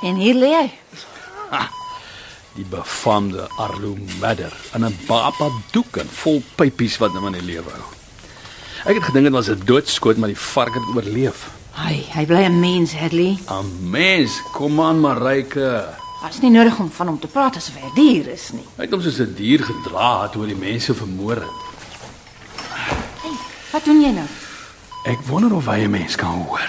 En hier lê hy. Die befaamde Arlo Madder in 'n baba doek en vol pypies wat hom in die lewe hou. Ek het gedink dit was 'n doodskoot, maar die vark het oorleef. Hy, hy bly 'n mens, Hadley. Ames, kom aan Mareike. Dit is nie nodig om van hom te praat asof hy 'n dier is nie. Hy het hom soos 'n dier gedra het oor die mense vermoor het. Wat doen jy nou? Ek wonder of hy 'n mens kan hoor.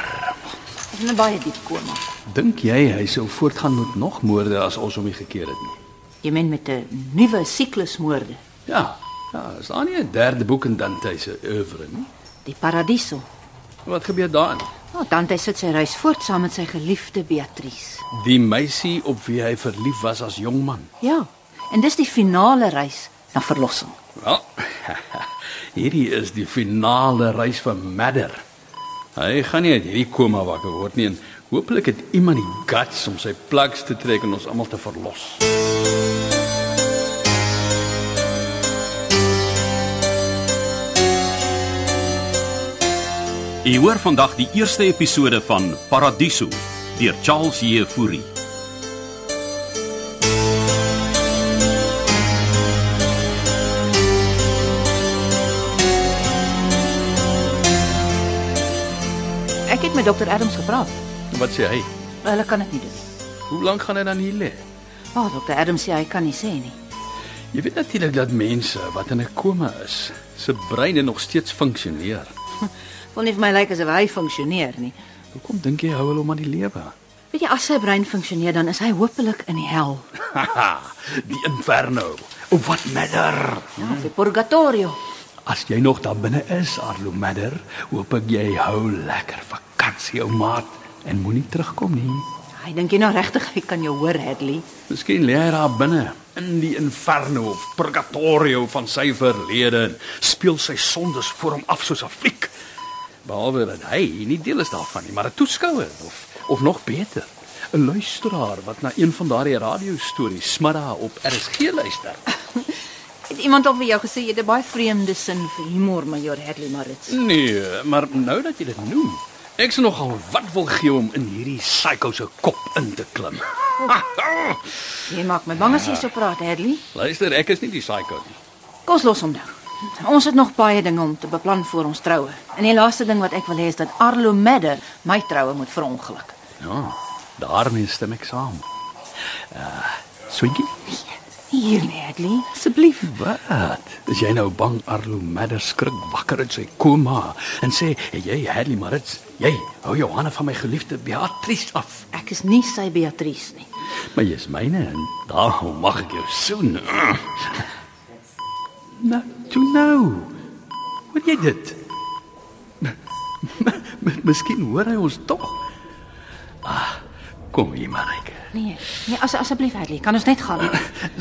Dis 'n baie diep koma. Dink jy hy sou voortgaan met nog moorde as ons hom nie gekeer het nie? Jy meen met 'n nuwe siklusmoorde, Ja. Ja, is daar nie 'n derde boek in Dante se oeuvre nie? die Paradiso. Wat gebeur daarin? Nou, Dante sit sy reis voort saam met sy geliefde Beatrice. Die meisie op wie hy verlief was as jong man. Ja, en dis die finale reis na verlossing. Wel, hierdie is die finale reis van Madder. Hy gaan nie uit hierdie koma wakker word nie en hopelik het iemand die guts om sy plugs te trek en ons almal te verlos. U hoor vandag die eerste episode van Paradiso deur Charles Jefouri. Ek het met dokter Adams gepraat. Wat sê hy? Hulle kan dit nie doen nie. Hoe lank gaan hy dan hier lê? Ja, oh, dokter Adams sê hy kan nie sê nie. Jy weet natuurlik dat mense wat in 'n koma is, se breine nog steeds funksioneer. Wil nie vir my lyk asof hy funksioneer nie. Hoekom dink jy hou hulle hom aan die lewe? Weet jy, as sy brein funksioneer, dan is hy hopelik in die hel, Haha, die inferno. Of wat matter? ja, of die purgatorio. As jy nog daar binne is, Arlo Madder, hoop ek jy hou lekker vakansie, ou maat, en moenie terugkom nie. Hy dink jy nou regtig hy kan jou hoor, Hadley? Miskien lê hy daar binne in die inferno of purgatorio van sy verlede en speel sy sondes voor hom af soos 'n fliek. Behalwe dat hy nie deel is daarvan nie, maar 'n toeskouer of of nog beter, 'n luisteraar wat na een van daardie radiostories smidda op RSG luister. Het iemand al vir jou gesê jy het 'n baie vreemde sin vir humor, majoor Hadley Maritz? Nee, maar nou dat jy dit noem, ek sou nogal wat wil gee om in hierdie psycho se kop in te klim. Jy maak my bang as jy so praat, Hadley. Luister, ek is nie die psycho nie. Kom ons los hom nou. Ons het nog baie dinge om te beplan voor ons troue. En die laaste ding wat ek wil hê is dat Arlo Madde my troue moet verongeluk. Ja, daarmee stem ek saam. Uh, Swinkie? Hier nee, Hadley, asseblief. Wat? Is jy nou bang Arlo Madder skrik wakker uit sy koma en sê, "Hey, "Jy, Hadley Maritz, jy hou jou hande van my geliefde Beatrice af." Ek is nie sy Beatrice nie. Maar jy's myne en daarom mag ek jou soen. Ugh. Nou, toe nou. Wat jy dit? M- Miskien hoor hy ons tog. Ah, kom hier, Marike. Nee, nee, as asseblief Hadley, kan ons net gaan?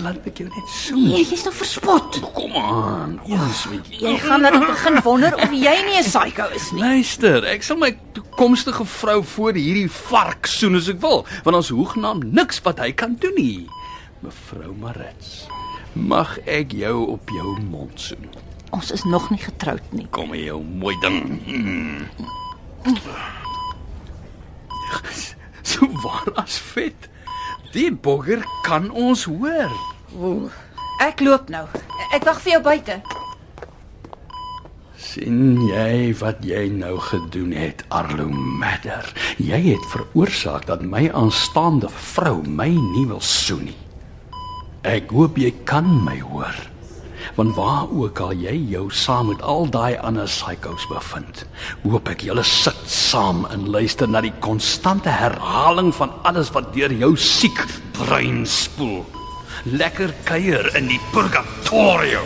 Laat ek jou net Ja, soen. Nee, jy's nou verspot. Kom aan, ons met Jy gaan dat ek begin wonder of jy nie 'n psycho is nie. Luister, ek sal my toekomstige vrou voor hierdie vark soen as ek wil, want ons hoegnaam niks wat hy kan doen nie. Mevrou Marits, mag ek jou op jou mond soen? Ons is nog nie getroud nie. Kom hier, jou mooi ding. Mm. So waar as vet. Die bogger kan ons hoor. Ek loop nou. Ek wag vir jou buite. sien jy wat jy nou gedoen het, Arlo Madder? Jy het veroorsaak dat my aanstaande vrou my nie wil soen nie. Ek hoop jy kan my hoor. Want waar ook al jy jou saam met al daai ander psychos bevind, hoop ek julle sit saam en luister na die konstante herhaling van alles wat deur jou siek brein spoel. Lekker kuier in die purgatorio.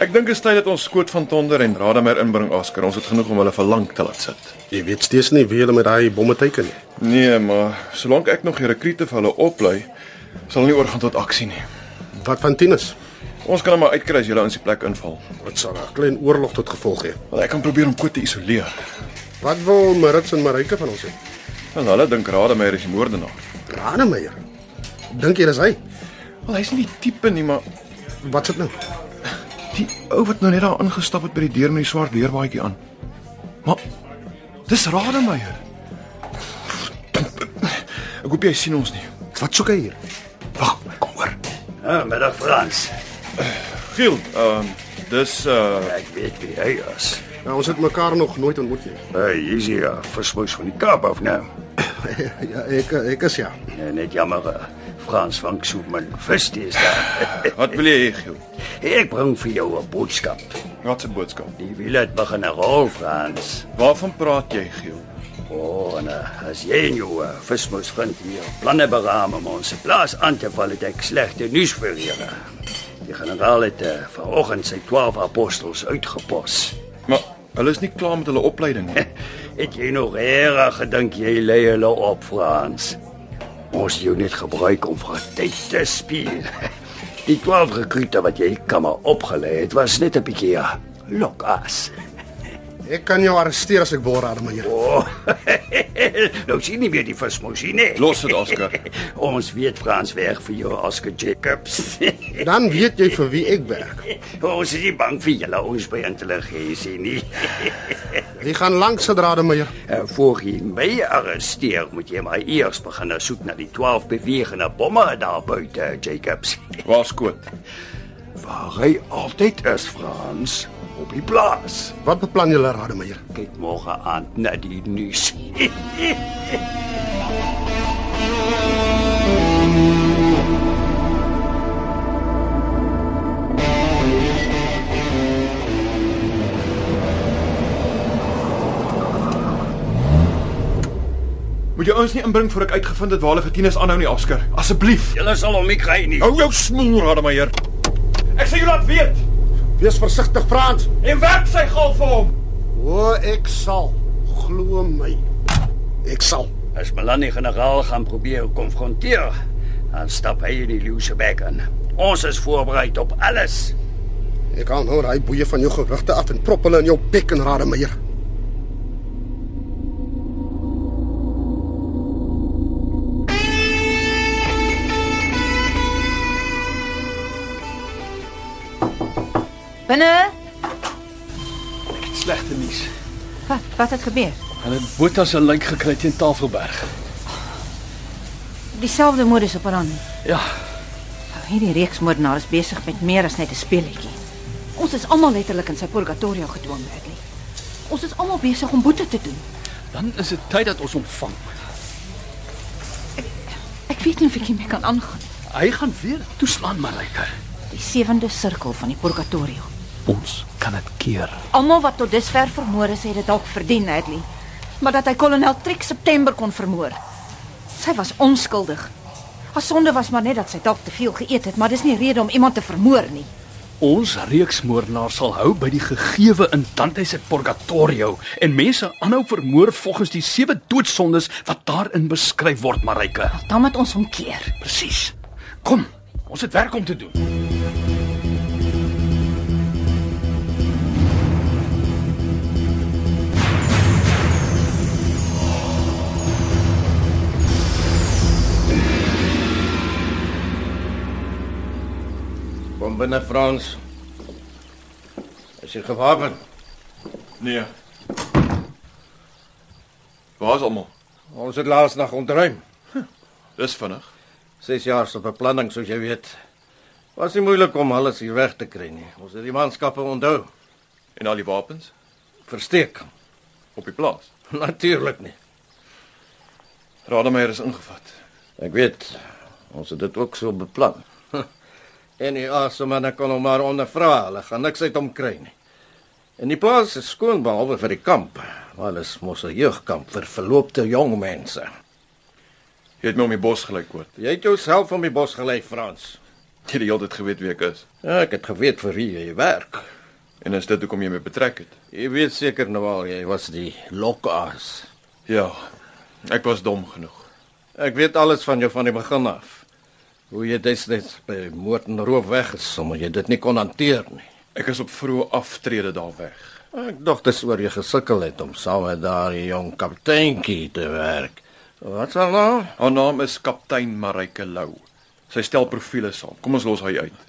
Ek dink dit is tyd dat ons skoot van Tonder en Radamer inbring Oscar. Ons het genoeg om hulle vir lank te laat sit. Jy weet steeds nie wie hulle met daai bomme teiken nie. Nee, maar solank ek nog die rekrute vir hulle oplei, sal hulle nie oorgaan tot aksie nie. Wat van Tinus? Ons kan hom maar uitkry as julle ons die plek inval. Dit sal 'n klein oorlog tot gevolg hê. Want ek kan probeer om Koet te isoleer. Wat wil Merits en Marika van ons hê? En hulle dink Radameyer is die moordenaar. Ranemeyer. Dink jy dis hy? Wel, hy's nie die tipe nie, maar Wat's dit nou? die ou wat nou net daar ingestap het by die deur met die swart leerbaadjie aan. Maar dis Rademeier. Ek hoop jy sien ons nie. Wat soek hy hier? Wag, kom hoor. Ah, middag Frans. Giel, ehm dis uh Ek weet wie hy is. Nou, ons het mekaar nog nooit ontmoet nie. Hy is hier ja, versmoes van die Kaap af nou. ja, ek ek is ja. Ja, Net jammer. eh, Frans van Soeman Vest is daar. wat wil jy hê, Giel? Ek bring vir jou 'n boodskap. Wat 'n boodskap. Die wiel het begin rol, Frans. Waarvan praat jy, Giel? O, en eh, as jy en jou eh, vismoes vriend hier planne beraam om ons plaas aan te val, het ek slegte nuus vir julle. Die generaal het eh, vanoggend sy 12 apostels uitgepos. Maar hulle is nie klaar met hulle opleiding nie. Het jy nog reg gedink jy lei hulle op Frans? Ons het jou net gebruik om vir tyd te speel. Die 12 rekrute wat jy kan maar opgelei het, was net 'n bietjie ja, lokas. Ek kan jou arresteer as ek wil, Ademaier. O. Oh, nou sien nie meer die vismosie nie. Los dit, Oscar. Ons weet Frans weg vir jou Oscar Jacobs. Dan weet jy vir wie ek werk. ons is nie bang vir julle ons by intelligensie nie. Jy gaan lank gedra, Ademaier. En voor jy my arresteer, moet jy maar eers begin nou soek na die 12 bewegende bomme daar buite, Jacobs. Waar skoot? Waar hy altyd is, Frans, op die plaas. Wat beplan julle, Ademaier? Kyk môre aand na die nuus. Moet jy ons nie inbring voor ek uitgevind het waar hulle vir Tinus aanhou nie, Oscar. Asseblief. Julle sal hom nie kry nie. Hou jou smoel, Rademeier. Ek sê jy laat weet. Wees versigtig, Frans. En werk sy gil vir hom. O, ek sal. Glo my. Ek sal. As Melanie generaal gaan probeer konfronteer, dan stap hy in die leeuse bek in. Ons is voorberei op alles. Ek haal nou daai boeie van jou gewrigte af en prop hulle in jou bek en Rademaier. Binne. Slegte nuus. Wat wat het gebeur? Hulle het Botha se lyk gekry teen Tafelberg. Dieselfde modus operandi. Ja, Nou, Hierdie reeksmoordenaar is besig met meer as net 'n speletjie. Ons is almal letterlik in sy purgatorio gedwing, Bradley. Ons is almal besig om boete te doen. dan is dit tyd dat ons hom vang. Ek weet nie of ek hiermee kan aangaan. Hy gaan weer toeslaan, Malika. Die sewende sirkel van die purgatorio. Ons kan dit keer. Almal wat tot dusver vermoor is, het dit dalk verdien, Hadley. Maar dat hy kolonel Trek September kon vermoor. Sy was onskuldig. Haar sonde was maar net dat sy dalk te veel geëet het, maar dis nie rede om iemand te vermoor nie. Ons reeksmoordenaar sal hou by die gegewe in Dante se purgatorio en mense aanhou vermoor volgens die sewe doodsondes wat daarin beskryf word, Marike. Ja, Dan moet ons hom keer. Presies. Kom, ons het werk om te doen. Kom binne Frans. Is jy gewapen? Nee. Waar is almal? Ons het laas nag ontruim. Dis vinnig. 6 jaar se beplanning soos jy weet. Was nie moeilik om alles hier weg te kry nie. Ons het die manskappe onthou, En al die wapens versteek. op die plaas. Natuurlik nie. Rademeier is ingevat. Ek weet ons het dit ook so beplan. En die asemane kon hom maar ondervra. Hulle gaan niks uit hom kry nie. En die plaas is skoon behalwe vir die kamp. Maar dit is mos 'n jeugkamp vir verloopte jong mense. Jy het my om die bos gelyk word. Jy het jouself van die bos gelei, Frans. Jy het die hele tyd geweet wie ek is. Ja, ek het geweet vir wie jy werk. En is dit hoekom jy my betrek het? Jy weet seker nou al jy was die lokaas. Ja. Ek was dom genoeg. Ek weet alles van jou van die begin af. Hoe jy destyds by moord en roof weggesom en jy dit nie kon hanteer nie. Ek is op vroeë aftrede daar weg. Ek dink dis oor jy gesukkel het om saam met daardie jong kapteintjie te werk. Wat sal nou? Haar naam is kaptein Marike Lou. Sy stel profile saam. Kom ons los hy uit.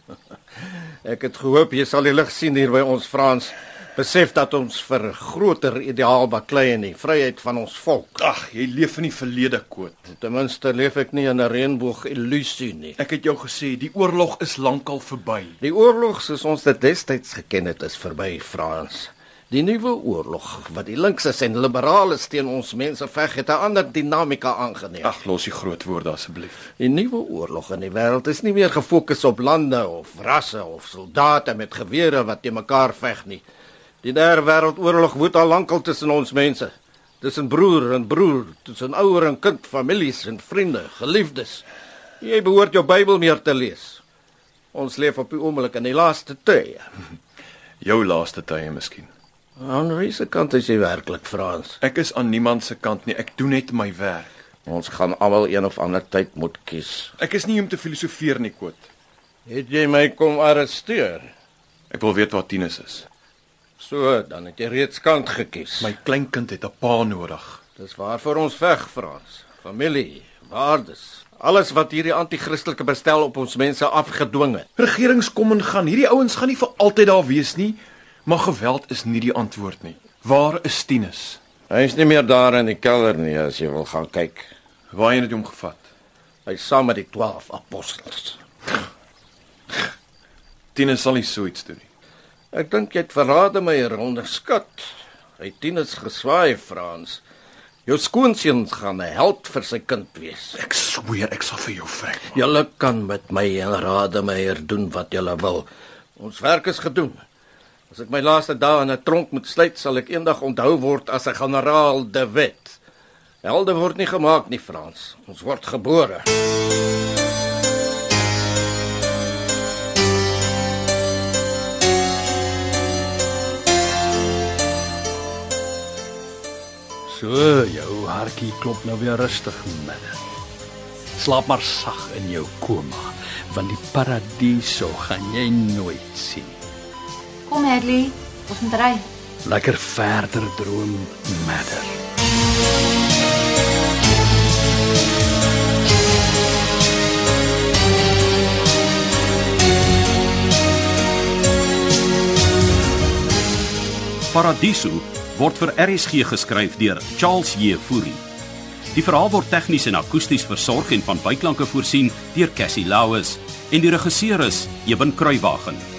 Ek het gehoop jy sal die lig sien hier by ons Frans. Besef dat ons vir 'n groter ideaal baklei in die vryheid van ons volk. Ag, jy leef in die verlede koot. Ten minste leef ek nie in 'n reënboog illusie nie. Ek het jou gesê die oorlog is lankal verby. Die oorlog soos ons dit destyds geken het is verby Frans. Die nuwe oorlog wat die linkses en liberales teen ons mense veg het 'n ander dinamika aangeneem. Ag, los die groot woorde asseblief. Die nuwe oorlog in die wêreld is nie meer gefokus op lande of rasse of soldate met gewere wat te mekaar veg nie. Die derde wêreldoorlog woed al lankal tussen ons mense. Tussen broer en broer, tussen ouer en kind, families en vriende, geliefdes. Jy behoort jou Bybel meer te lees. Ons leef op die oomblik in die laaste tye. Jou laaste tye miskien. Aan wiese kant is jy werklik Frans? Ek is aan niemand se kant nie. Ek doen net my werk. Ons gaan almal een of ander tyd moet kies. Ek is nie hier om te filosofeer nie, koot. Het jy my kom arresteer? Ek wil weet waar Tinus is. So, dan het jy reeds kant gekies. My kleinkind het 'n pa nodig. Dis waarvoor ons veg, Frans. Familie, waardes, alles wat hierdie anti-kristelike bestel op ons mense afgedwing het. Regerings kom en gaan. Hierdie ouens gaan nie vir altyd daar wees nie, maar geweld is nie die antwoord nie. Waar is Tinus? Hy is nie meer daar in die kelder nie as jy wil gaan kyk. Waarheen het jy hom gevat? Hy's saam met die 12 apostels. Tinus sal nie so iets doen nie. Ek dink jy het verraad my hier onderskat. Hy tieners geswaai, Frans. Jou skoonseun gaan 'n held vir sy kind wees. Ek sweer ek sal vir jou vrek. Julle kan met my en Rademeier doen wat julle wil. Ons werk is gedoen. As ek my laaste dae in 'n tronk moet sluit, sal ek eendag onthou word as 'n generaal de Wet. Helde word nie gemaak nie, Frans. Ons word gebore. So, jou hartjie klop nou weer rustig middag. Slaap maar sag in jou koma, want die paradiso gaan jy nooit sien. Kom Hadley, ons moet ry. Lekker verder droom, Madder. Paradiso word vir RSG geskryf deur Charles Jefouri. Die verhaal word tegnies en akoesties versorg en van byklanke voorsien deur Cassie Lauis en die regisseur is Eben Kruiwagen.